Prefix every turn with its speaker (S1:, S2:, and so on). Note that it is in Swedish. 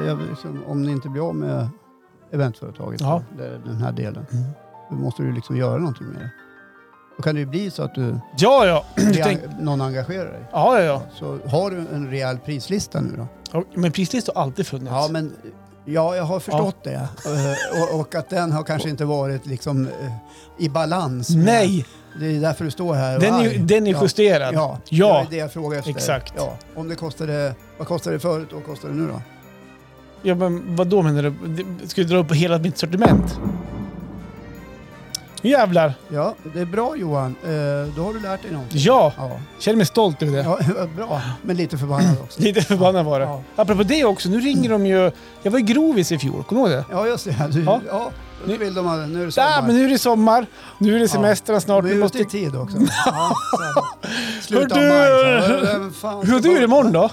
S1: Jag, liksom, om ni inte blir av med eventföretaget,
S2: Ja.
S1: eller den här delen,
S2: Mm.
S1: då måste du liksom göra någonting med det. Då kan det ju bli så att du,
S2: Ja, ja. Du tänk...
S1: rea- någon engagerar dig.
S2: ja, ja, ja.
S1: Så har du en rejäl prislista nu då?
S2: Ja, Men prislistor har alltid funnits.
S1: Ja, men ja, jag har förstått det. Eh, Och, och att den har kanske inte varit liksom eh, i balans. med-
S2: Nej,
S1: Det är därför du står här och
S2: den är, ju-
S1: arg.
S2: den är
S1: Ja.
S2: justerad.
S1: Ja,
S2: Ja.
S1: det är det jag frågar efter.
S2: Exakt.
S1: Ja. Om det kostade, vad kostade det förut och vad kostar det nu då?
S2: Ja, men vad då menar du? Det- Ska du dra upp hela mitt sortiment? Nu jävlar!
S1: Ja, det är bra Johan. Eh, Då har du lärt dig någonting.
S2: Ja,
S1: Ja,
S2: känner mig stolt över det.
S1: ja vad bra. Men lite förbannad också.
S2: Lite förbannad var det.
S1: Ja.
S2: Apropå det också, nu ringer de ju... Jag var i Grovis i fjol, kommer du ihåg det?
S1: Ja, just det. Du,
S2: Ja.
S1: ja. nu vill de ha, nu är det
S2: Där, men nu är det sommar, nu är det semestern snart.
S1: Du är
S2: Vi
S1: ute
S2: måste...
S1: i tid också. Ja, så här. Slutet av
S2: Hör du-
S1: maj. så här. Vem fan ska
S2: Hur har du
S1: bara-
S2: det imorgon då?